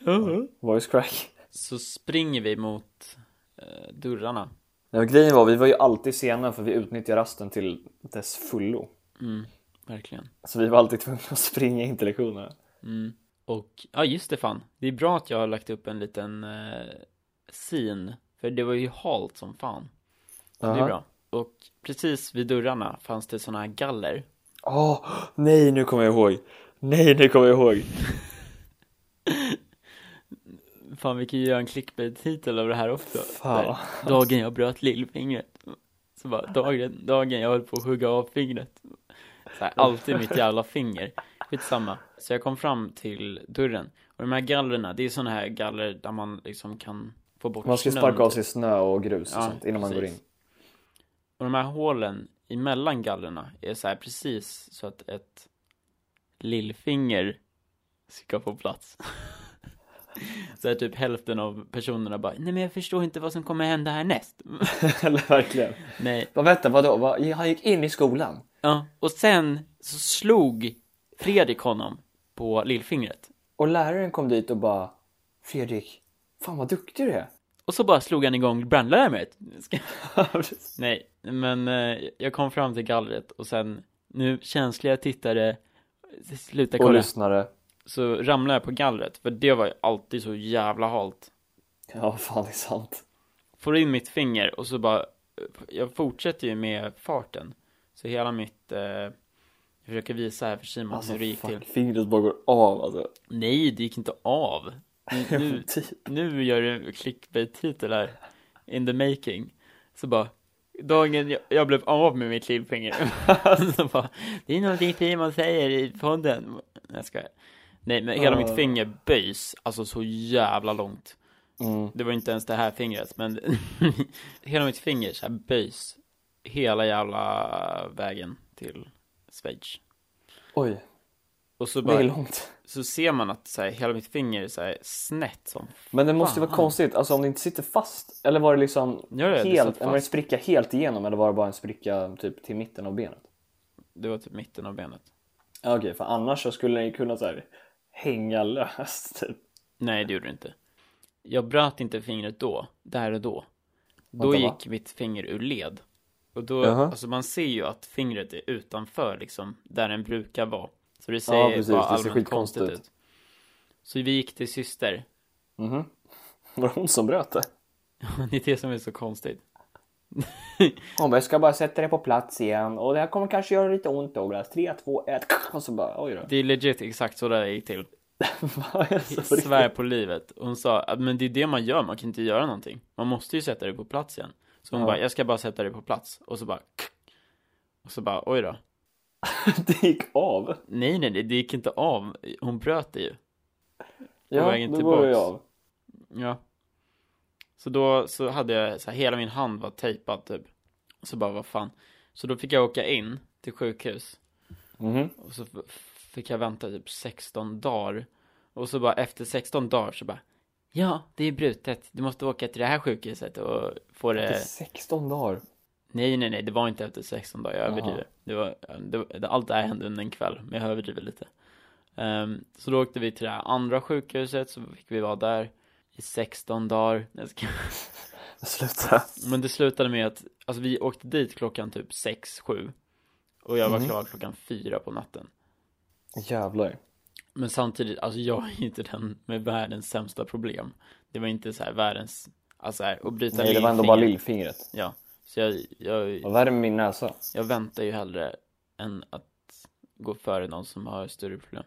Uh-huh. Voice crack. Så springer vi mot eh, dörrarna Nej, men grejen var, vi var ju alltid sena för vi utnyttjade rasten till dess fullo. Mm, verkligen Så vi var alltid tvungna att springa in till lektionerna. Mm. Och, ja just det fan, det är bra att jag har lagt upp en liten eh, scene, för det var ju halt som fan. Så det Aha. är bra. Och precis vid dörrarna fanns det såna här galler. Åh, nej nu kommer jag ihåg. Nej, nu kommer jag ihåg. Fan vi kan ju göra en clickbait-titel av det här också. Fan. Där, Dagen jag bröt lillfingret. Så bara, dagen, dagen jag höll på att hugga av fingret. Så här, alltid mitt jävla finger. Skitsamma. Så jag kom fram till dörren. Och de här gallerna, det är såna här galler där man liksom kan få bort Man ska snön, sparka av typ. sig snö och grus och sånt innan man går in. precis. Och de här hålen emellan gallerna är så här precis så att ett lillfinger ska få plats. så här typ hälften av personerna bara, nej men jag förstår inte vad som kommer hända härnäst. Eller verkligen. nej, Vad vänta, vadå? Vad? Han gick in i skolan? ja. Och sen så slog Fredrik honom på lillfingret. Och läraren kom dit och bara Fredrik, fan vad duktig du är. Och så bara slog han igång brandlarmet. Ska- Nej, men eh, jag kom fram till gallret och sen, nu känsliga tittare, sluta Och kolla. lyssnare. så ramlade jag på gallret, för det var ju alltid så jävla halt. Ja, fan det är sant. Får in mitt finger och så bara, jag fortsätter ju med farten. Så hela mitt, eh, jag försöker visa här för Simon Alltså hur det gick fuck, till. fingret bara går av alltså. Nej, det gick inte av. Nu, nu, Typ. nu gör du clickbait-titel här, in the making. Så bara, dagen jag, jag blev av med mitt lillfinger. så bara, det är någonting Simon säger i podden. Nej, Jag skojar. Nej men hela Ja. mitt finger böjs, alltså så jävla långt. Mm. Det var inte ens det här fingret, men hela mitt finger så här böjs hela jävla vägen till Schweiz. Oj, Och så, det är bara, långt. så ser man att så här, hela mitt finger är så här snett som Men det måste ju vara Fan. konstigt, alltså om det inte sitter fast. Eller var det liksom Ja, ja, det satt helt, fast. var det en spricka helt igenom eller var det bara en spricka typ till mitten av benet? det var typ mitten av benet. Ja, Okej, för annars så skulle den ju kunna så här hänga löst typ. Nej det gjorde det inte. Jag bröt inte fingret då, där och då. Då Vänta, va? gick mitt finger ur led. Och då, Jaha. alltså man ser ju att fingret är utanför liksom, där den brukar vara. Så det ser Ja, precis. bara Det ser allmänt skitkonstigt konstigt ut. Så vi gick till syster. Var det hon som bröt det? Det är det som är så konstigt. Hon bara, jag ska bara sätta det på plats igen och det här kommer kanske göra lite ont Douglas. 3, 2, 1 och så bara oj då. Det är legit exakt så där det gick till. Vad är det så för Svär på livet. Hon sa, "Ah, men det är det man gör, man kan inte göra någonting. Man måste ju sätta det på plats igen. Så hon Ja. bara, jag ska bara sätta det på plats. Och så bara, och så bara, oj då. riktigt? Det gick av. Nej, nej, nej, det gick inte av. Hon bröt det ju. Ja, vägen det var ju tillbaks. av. Ja. Så då så hade jag, så här, hela min hand var tejpad typ. Så bara, vad fan. Så då fick jag åka in till sjukhus. Mhm. Och så f- fick jag vänta typ 16 dagar. Och så bara efter 16 dagar så bara, ja, det är brutet. Du måste åka till det här sjukhuset och få Det är det. 16 dagar. Nej, nej, nej, det var inte efter 16 dagar, jag Jaha. överdriver. Det var, det, var- allt det här hände under en kväll, men jag överdriver lite. Ehm, så då åkte vi till det här andra sjukhuset, så fick vi vara där i 16 dagar. Nej, jag ska- Sluta. Men det slutade med att, alltså vi åkte dit klockan typ 6-7 och jag var Mm. klar klockan 4 på natten. Jävlar. Men samtidigt, alltså jag är inte den med världens sämsta problem. Det var inte så här världens, alltså så här, att bryta Nej, det var ändå bara lillfingret. lillfingret. Ja, så jag, jag, Vad värre med min näsa. Jag väntar ju hellre än att gå före någon som har större problem.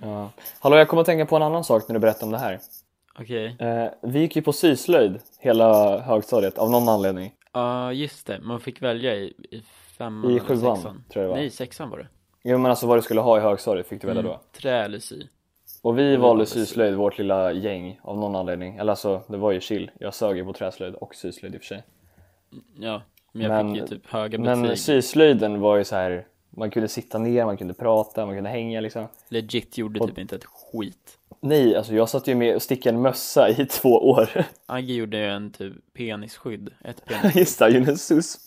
Ja. Hallå, jag kommer att tänka på en annan sak när du berättar om det här. Okej, Eh, vi gick ju på syslöjd hela högstadiet av någon anledning. ja just det, man fick välja i, i femman I eller sjuan, sexan. tror jag det var. Nej, sexan var det. Jo men alltså vad du skulle ha i högstadiet fick du välja då. Trä eller sy. Och vi valde valde syslöjd, vårt lilla gäng, av någon anledning. Eller alltså, det var ju chill. Jag sög ju på träslöjd och syslöjd i och för sig. Ja, men jag Men- fick ju typ höga betyg. Men syslöjden var ju så här, man kunde sitta ner, man kunde prata, man kunde hänga liksom. Legit gjorde typ inte ett skit. Nej, alltså jag satt ju med och stickade en mössa i två år. Agge gjorde ju en typ penisskydd, ett penis. Just det, Junes susp.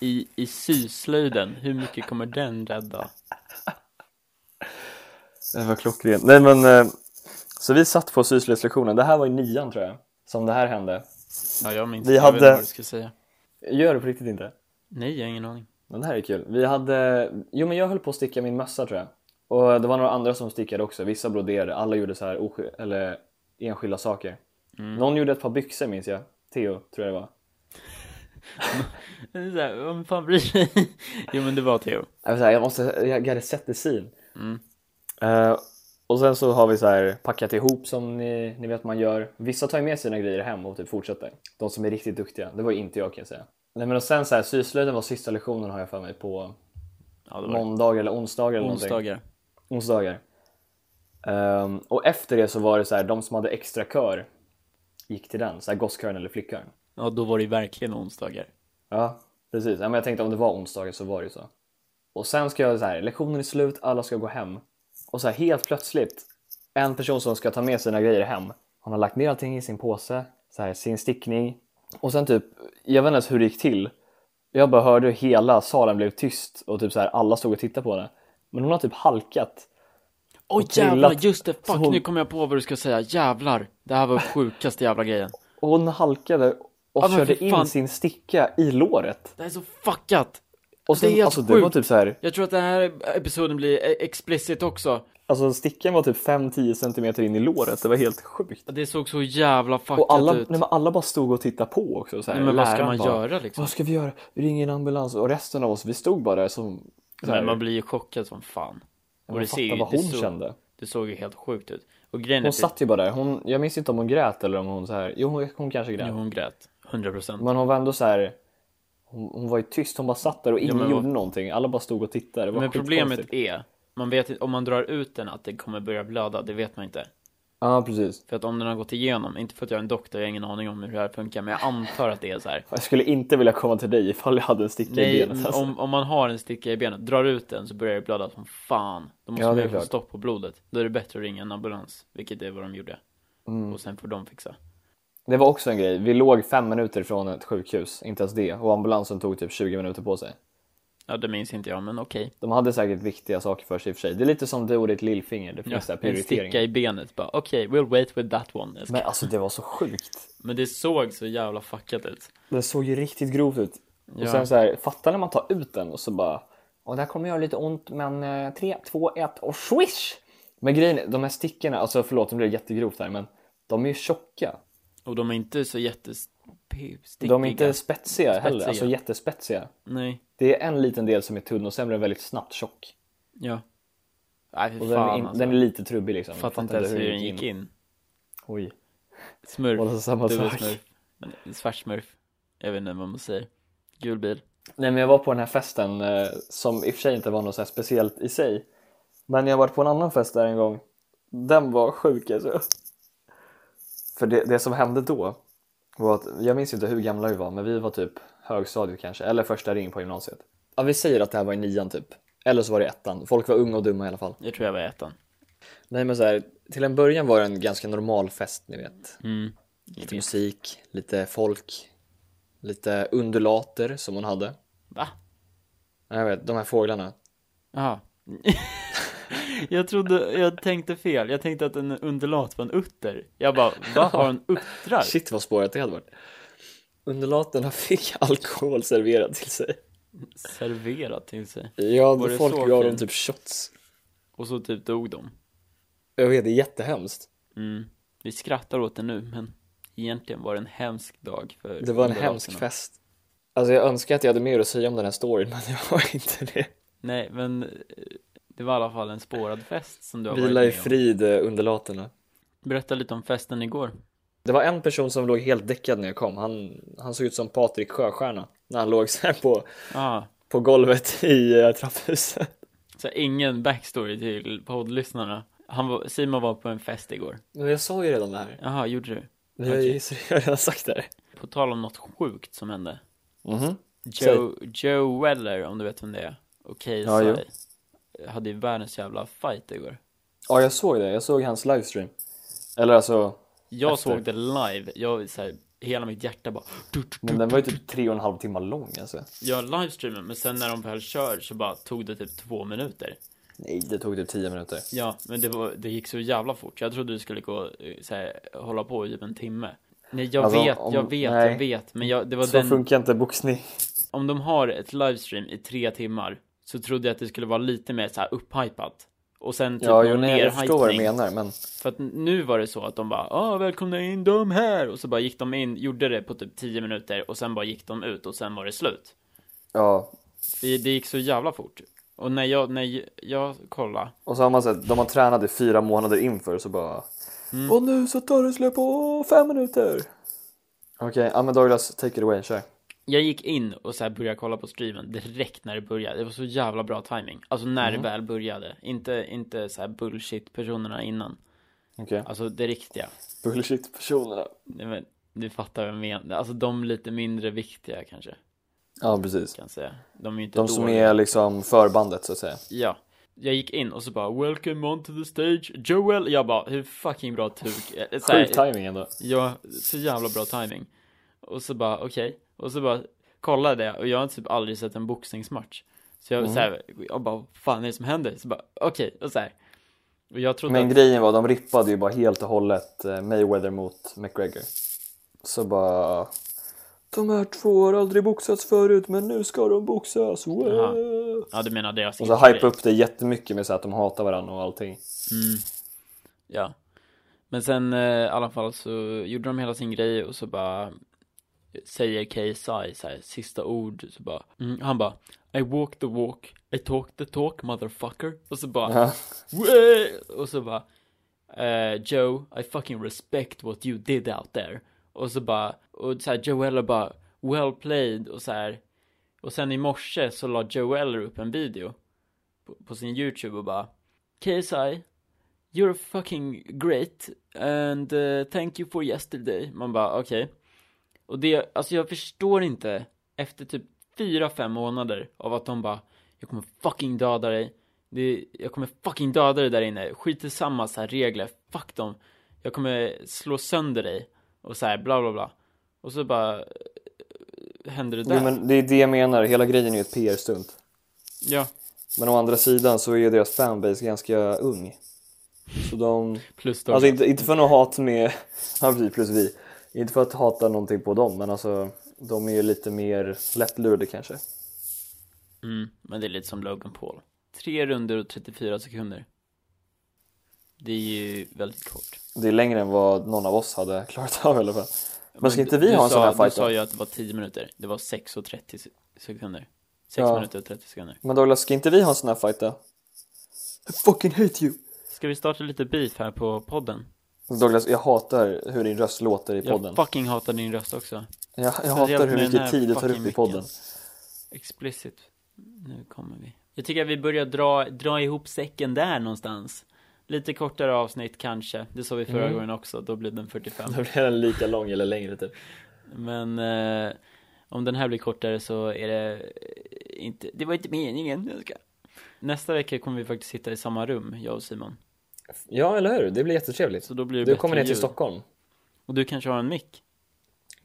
I, i syslöjden, hur mycket kommer den rädda? Det var klockrent. Nej men, eh, så vi satt på syslöjdslektionen. Det här var i nian tror jag, som det här hände. Ja, jag minns Vi jag vet hade- inte vad du ska säga. Gör det på riktigt inte? Nej, jag har ingen aning. Men det här är kul. Vi hade, jo men jag höll på att sticka min mössa tror jag. Och det var några andra som stickade också, vissa broderade, alla gjorde så här osky- eller enskilda saker. Någon gjorde ett par byxor minns jag, Theo tror jag det var. Det är så här, Vem fan bryr sig? jo men det var Theo. Jag, var så här, jag måste, jag gotta set the scene. Eh, och sen så har vi så här packat ihop som ni, ni vet man gör. Vissa tar ju med sina grejer hem och typ fortsätter. De som är riktigt duktiga, det var ju inte jag kan jag säga. Nej men och sen så här, syslöjden var sista lektionen har jag för mig på Ja, det var det. måndagar eller onsdagar eller någonting. Onsdagar. onsdagar. Ehm, och efter det så var det så här, de som hade extra kör gick till den, så här gosskören eller flickkören. Ja, då var det ju verkligen onsdagar. Ja, precis. Ja, men jag tänkte om det var onsdagar så var det ju så. Och sen ska jag så här, lektionen är slut, alla ska gå hem. Och så här helt plötsligt, en person som ska ta med sina grejer hem, han har lagt ner allting i sin påse, så här, sin stickning. Och sen typ, jag vet inte ens hur det gick till. Jag bara hörde hur hela salen blev tyst och typ så här, alla stod och tittade på henne. Men hon har typ halkat Åh Och trillat. jävlar, just det, fuck, Så hon- nu kommer jag på vad du ska säga, jävlar! Det här var sjukaste jävla grejen. Och hon halkade och Ja, men körde för fan. in sin sticka i låret. Det här är så fuckat! Och sen, Det är helt alltså, det var sjukt. typ så här, Jag tror att den här episoden blir eh, explicit också. alltså stickan var typ 5-10 centimeter in i låret. Det var helt sjukt. Det såg så jävla fuckat Och alla, nej, ut. men alla bara stod och tittade på också. Så här. Nej, men vad ska Läraren man bara, göra liksom? Vad ska vi göra? Ring en ambulans. Och resten av oss, vi stod bara där som... Så här, Men man blir ju chockad som fan. Och man det, ser ju, fattar vad det, hon såg, kände. det såg ju helt sjukt ut. Och grejen är Hon att det- satt ju bara där. Hon, jag minns inte om hon grät eller om hon så här. Jo, hon, hon kanske grät. Jo, typ- hon grät. 100%. procent. Men hon var ändå så här. Hon, hon var ju tyst. Hon bara satt där och ingen men vad- gjorde någonting. Alla bara stod och tittade. Det var Men problemet skitkonstigt. är man vet inte- om man drar ut den att det kommer börja blöda, det vet man inte. Ja, precis. För att om den har gått igenom, inte för att jag är en doktor, jag har ingen aning om hur det här funkar, men jag antar att det är så här. Jag skulle inte vilja komma till dig ifall jag hade en sticka i Nej, benet. Alltså. om, om man har en sticka i benet, drar ut den så börjar det blöda som fan. Då måste Ja, det är man ju få klart. stopp på blodet. Då är det bättre att ringa en ambulans, vilket är vad de gjorde. Mm. Och sen får de fixa. Det var också en grej. Vi låg fem minuter från ett sjukhus, inte ens det. Och ambulansen tog typ 20 minuter på sig. Ja, det minns inte jag, men okej. De hade säkert viktiga saker för sig i och för sig. Det är lite som du och ditt lillfinger. Det finns där en prioriteringar. sticka i benet bara, okej, we'll wait with that one. Men, Men alltså det var så sjukt. det såg så jävla fuckat ut. Det såg ju riktigt grovt ut. Ja. Och sen så här, fattar när man tar ut den och så bara... Ja, det här kommer göra lite ont, men eh, tre, två, ett och swish! Men grejen är, de här stickorna, alltså förlåt om det blir jättegrovt här, men de är ju tjocka. Och de är inte så jättestickiga. De är inte spetsiga, heller, Spetsiga. alltså jättespetsiga. Nej, Det är en liten del som är tunn och sen blir den väldigt snabbt tjock. ja. Nej, fy fan Och den, är, in, alltså. den är lite trubbig liksom. Jag Fattar inte ens hur den gick in. Oj. Smurf. Och så samma du är sak. smurf. Men Svart smurf. Jag vet inte vad man säger. Gul bil. Nej men jag var på den här festen eh, som i och för sig inte var något så här speciellt i sig. Men jag var på en annan fest där en gång. Den var sjuk alltså. För det, det som hände då var att, jag minns inte hur gamla vi var, men vi var typ högstadiet kanske, eller första ring på gymnasiet. Ja vi säger att det här var i nian typ. Eller så var det ettan. Folk var unga och dumma i alla fall. Jag tror jag var i ettan. Nej men så här, till en början var det en ganska normal fest ni vet. Mm. Lite musik, lite folk, lite undulater som hon hade. Va? Jag vet, de här fåglarna. Jaha. jag trodde, jag tänkte fel. Jag tänkte att en undulat var en utter. Jag bara, va? Har en uttrar? Shit vad spårat det hade varit. Undulaterna fick alkohol serverat till sig. Serverat till sig. Ja, Var det folk så gav dem fint? typ shots. Och så typ dog de. Jag vet, det är jättehemskt. Mm. Vi skrattar åt det nu, men egentligen var det en hemsk dag för Det var en undulaterna. hemsk fest. Alltså jag önskar att jag hade mer att säga om den här storyn, men jag har inte det. Nej, men eh, det var i alla fall en spårad fest som du har varit Vila med i om. frid, eh, undulaterna. Berätta lite om festen igår. Det var en person som låg helt däckad när jag kom. Han, han såg ut som Patrik Sjöstjärna när han låg så här på, Ah, på golvet i eh, trapphuset. så ingen backstory till poddlyssnarna. Han var, Simon var på en fest igår. Men jag sa ju redan det här. Jaha, gjorde du? Jag, Okej. så jag har redan sagt det här. På tal om något sjukt som hände. Mhm. Joe, Joe Weller, om du vet vem det är, och Ja, KSI, hade ju världens jävla fight igår. Ja, jag såg det. Jag såg hans livestream. Eller alltså, Jag Efter. såg det live, jag så här, hela mitt hjärta bara du, du, du. men den var ju typ tre och en halv timme lång alltså. Jag livestreamen, men sen när de väl kör så bara tog det typ två minuter. Nej, det tog typ tio minuter. Ja, men det, var, det gick så jävla fort. Jag trodde det skulle gå, eh, så här, hålla på i typ en timme. Nej, jag Alltså, vet, om- jag vet, nej. jag vet, men jag, det var Så den, typ funkar inte boxning. om de har ett livestream i tre timmar så trodde jag att det skulle vara lite mer så här upphypat. Och sen typ Ja, någon jo, nej, jag förstår vad du nerhypning. menar, men För att nu var det så att de bara ah, välkomna in de här och så bara gick de in, gjorde det på typ 10 minuter och sen bara gick de ut och sen var det slut. ja. Det, det gick så jävla fort. Och när jag, när jag kollade, Och så har man sett, de har tränat i fyra månader inför så bara. Mm. Och nu så tar det slut på fem minuter. Okej, ja men Douglas, take it away, kör. jag gick in och så här började kolla på streamen direkt när det började. Det var så jävla bra timing. Alltså när Mm. det väl började. Inte, inte så här bullshit personerna innan. Okej. Alltså det riktiga. Bullshit personerna. Nej, men, du fattar vad jag menar. Alltså de lite mindre viktiga kanske. Ja, precis. Kan jag säga. De är ju inte De som dåliga. är liksom förbandet så att säga. Ja. Jag gick in och så bara 'Welcome on to the stage, Joel' Jag bara, hur fucking bra tuk? Eh, så här, Sjuk timing ändå. Ja, så jävla bra timing Och så bara, okej Och så bara kollade jag och jag har typ aldrig sett en boxningsmatch Så Mm. jag så här, jag bara, vad fan är det som händer? Så bara, okej, och så här. Och jag trodde Men att, grejen var, de rippade ju bara helt och hållet eh, Mayweather mot McGregor. Så bara... De här två har aldrig boxats förut, men nu ska de boxas. Wow." Jaha. ja du menar deras Och så grej. hype upp det jättemycket med så att de hatar varandra och allting. Ja. Men sen eh, i alla fall så gjorde de hela sin grej och så bara säger KSI så här, sista ord så bara, mm, han bara I walk the walk, I talk the talk motherfucker och så bara Ja. "Wah!" och så bara eh, Joe, I fucking respect what you did out there och så bara, och så här Joella bara well played och så här och sen i morse så la Joella upp en video på, på sin youtube och bara KSI, you're fucking great and eh, thank you for yesterday. Man bara okej. Och det, alltså jag förstår inte efter typ fyra fem månader av att de bara jag kommer fucking döda dig. Det, jag kommer fucking döda dig där inne. Skit i samma så här regler. Fuck dem. Jag kommer slå sönder dig. Och så här bla bla bla. Och så bara eh, händer det där. Jo, men det är det jag menar, hela grejen är ju ett PR-stunt. Ja. Men å andra sidan så är deras fanbase ganska ung. Så de... Plus då. Alltså inte, inte för något hat med... Ja, precis, plus vi. Inte för att hata någonting på dem, men alltså de är ju lite mer lättlurade kanske. Mm, men det är lite som Logan Paul. Tre runder och 34 sekunder. Det är ju väldigt kort. Det är längre än vad någon av oss hade klarat av i alla fall. Men ska inte vi du ha en sån sa- här fight Du sa då? ju att det var 10 minuter. Det var 6 och 30 se- sekunder. 6 Ja. minuter och 30 sekunder. Men Douglas, ska inte vi ha en sån här fight då? I fucking hate you! Ska vi starta lite beef här på podden? Douglas, jag hatar hur din röst låter i podden. Jag fucking hatar din röst också. Jag, jag Speciellt hatar hur med den mycket här tid du tar fucking upp i podden. micken. Explicit. Nu kommer vi. Jag tycker att vi börjar dra, dra ihop säcken där någonstans. Lite kortare avsnitt kanske. Det sa vi förra gången också. Då blev den 45. Mm. Då blir den lika lång eller längre typ. Men eh, om den här blir kortare så är det eh, inte, det var inte meningen. Jag ska- Nästa vecka kommer vi faktiskt sitta i samma rum, jag och Simon. Ja, eller hur? Det blir jättetrevligt. Så då blir det Du bättre kommer ner till ljud. Stockholm. Och du kanske har en mick.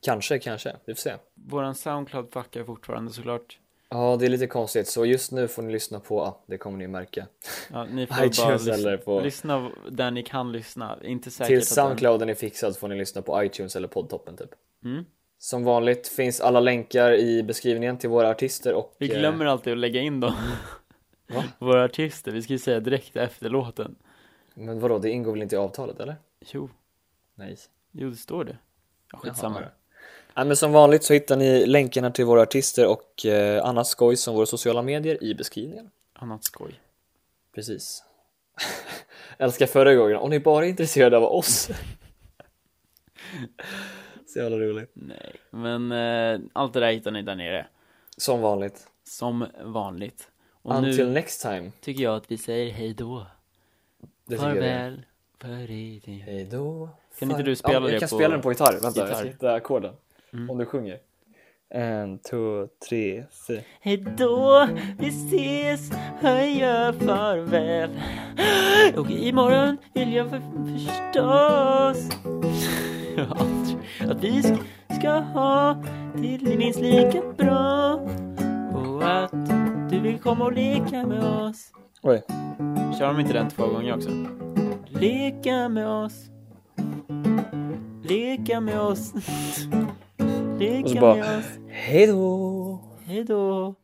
Kanske, kanske. Vi får se. Våran Soundcloud fuckar fortfarande såklart. Ja, det är lite konstigt. Så just nu får ni lyssna på, ah, det kommer ni märka. Ja, ni får iTunes bara lyssna, eller på... lyssna där ni kan lyssna. Inte säkert Till att den- Soundclouden är fixad får ni lyssna på iTunes eller poddtoppen typ. Mm. Som vanligt finns alla länkar i beskrivningen till våra artister och... Vi eh, Mm. glömmer alltid att lägga in dem. Va? Våra artister, vi ska ju säga direkt efter låten. Men vadå, det ingår väl inte i avtalet eller? Jo, Nej. jo det står det. Ja, Skitsamma. Jaha, ja. Ja, men som vanligt så hittar ni länkarna till våra artister och eh, annat skoj som våra sociala medier i beskrivningen. Annat skoj. Precis. Älskar förra gången, om ni bara är intresserade av oss. Så jävla roligt. Nej, men eh, allt det där hittar ni där nere. Som vanligt. Som vanligt. Och Until nu next time. tycker jag att vi säger hej då. Det tycker jag det är. Farväl, för idag. Hej då. Kan Fan. inte du spela ja, det Jag kan på- spela den på gitarr. Vänta, jag gitarr. Mm. ska hitta ackorden. Om du sjunger. En, två, tre, fyra. Hej då, vi ses, höja farväl. Och imorgon vill jag för, förstås att vi ska, ska ha det minst lika bra. Och att du vill komma och leka med oss. Oj. Kör de inte den två gånger också? Leka med oss Leka med oss Och så Leka bara- med oss Hej då. Hejdå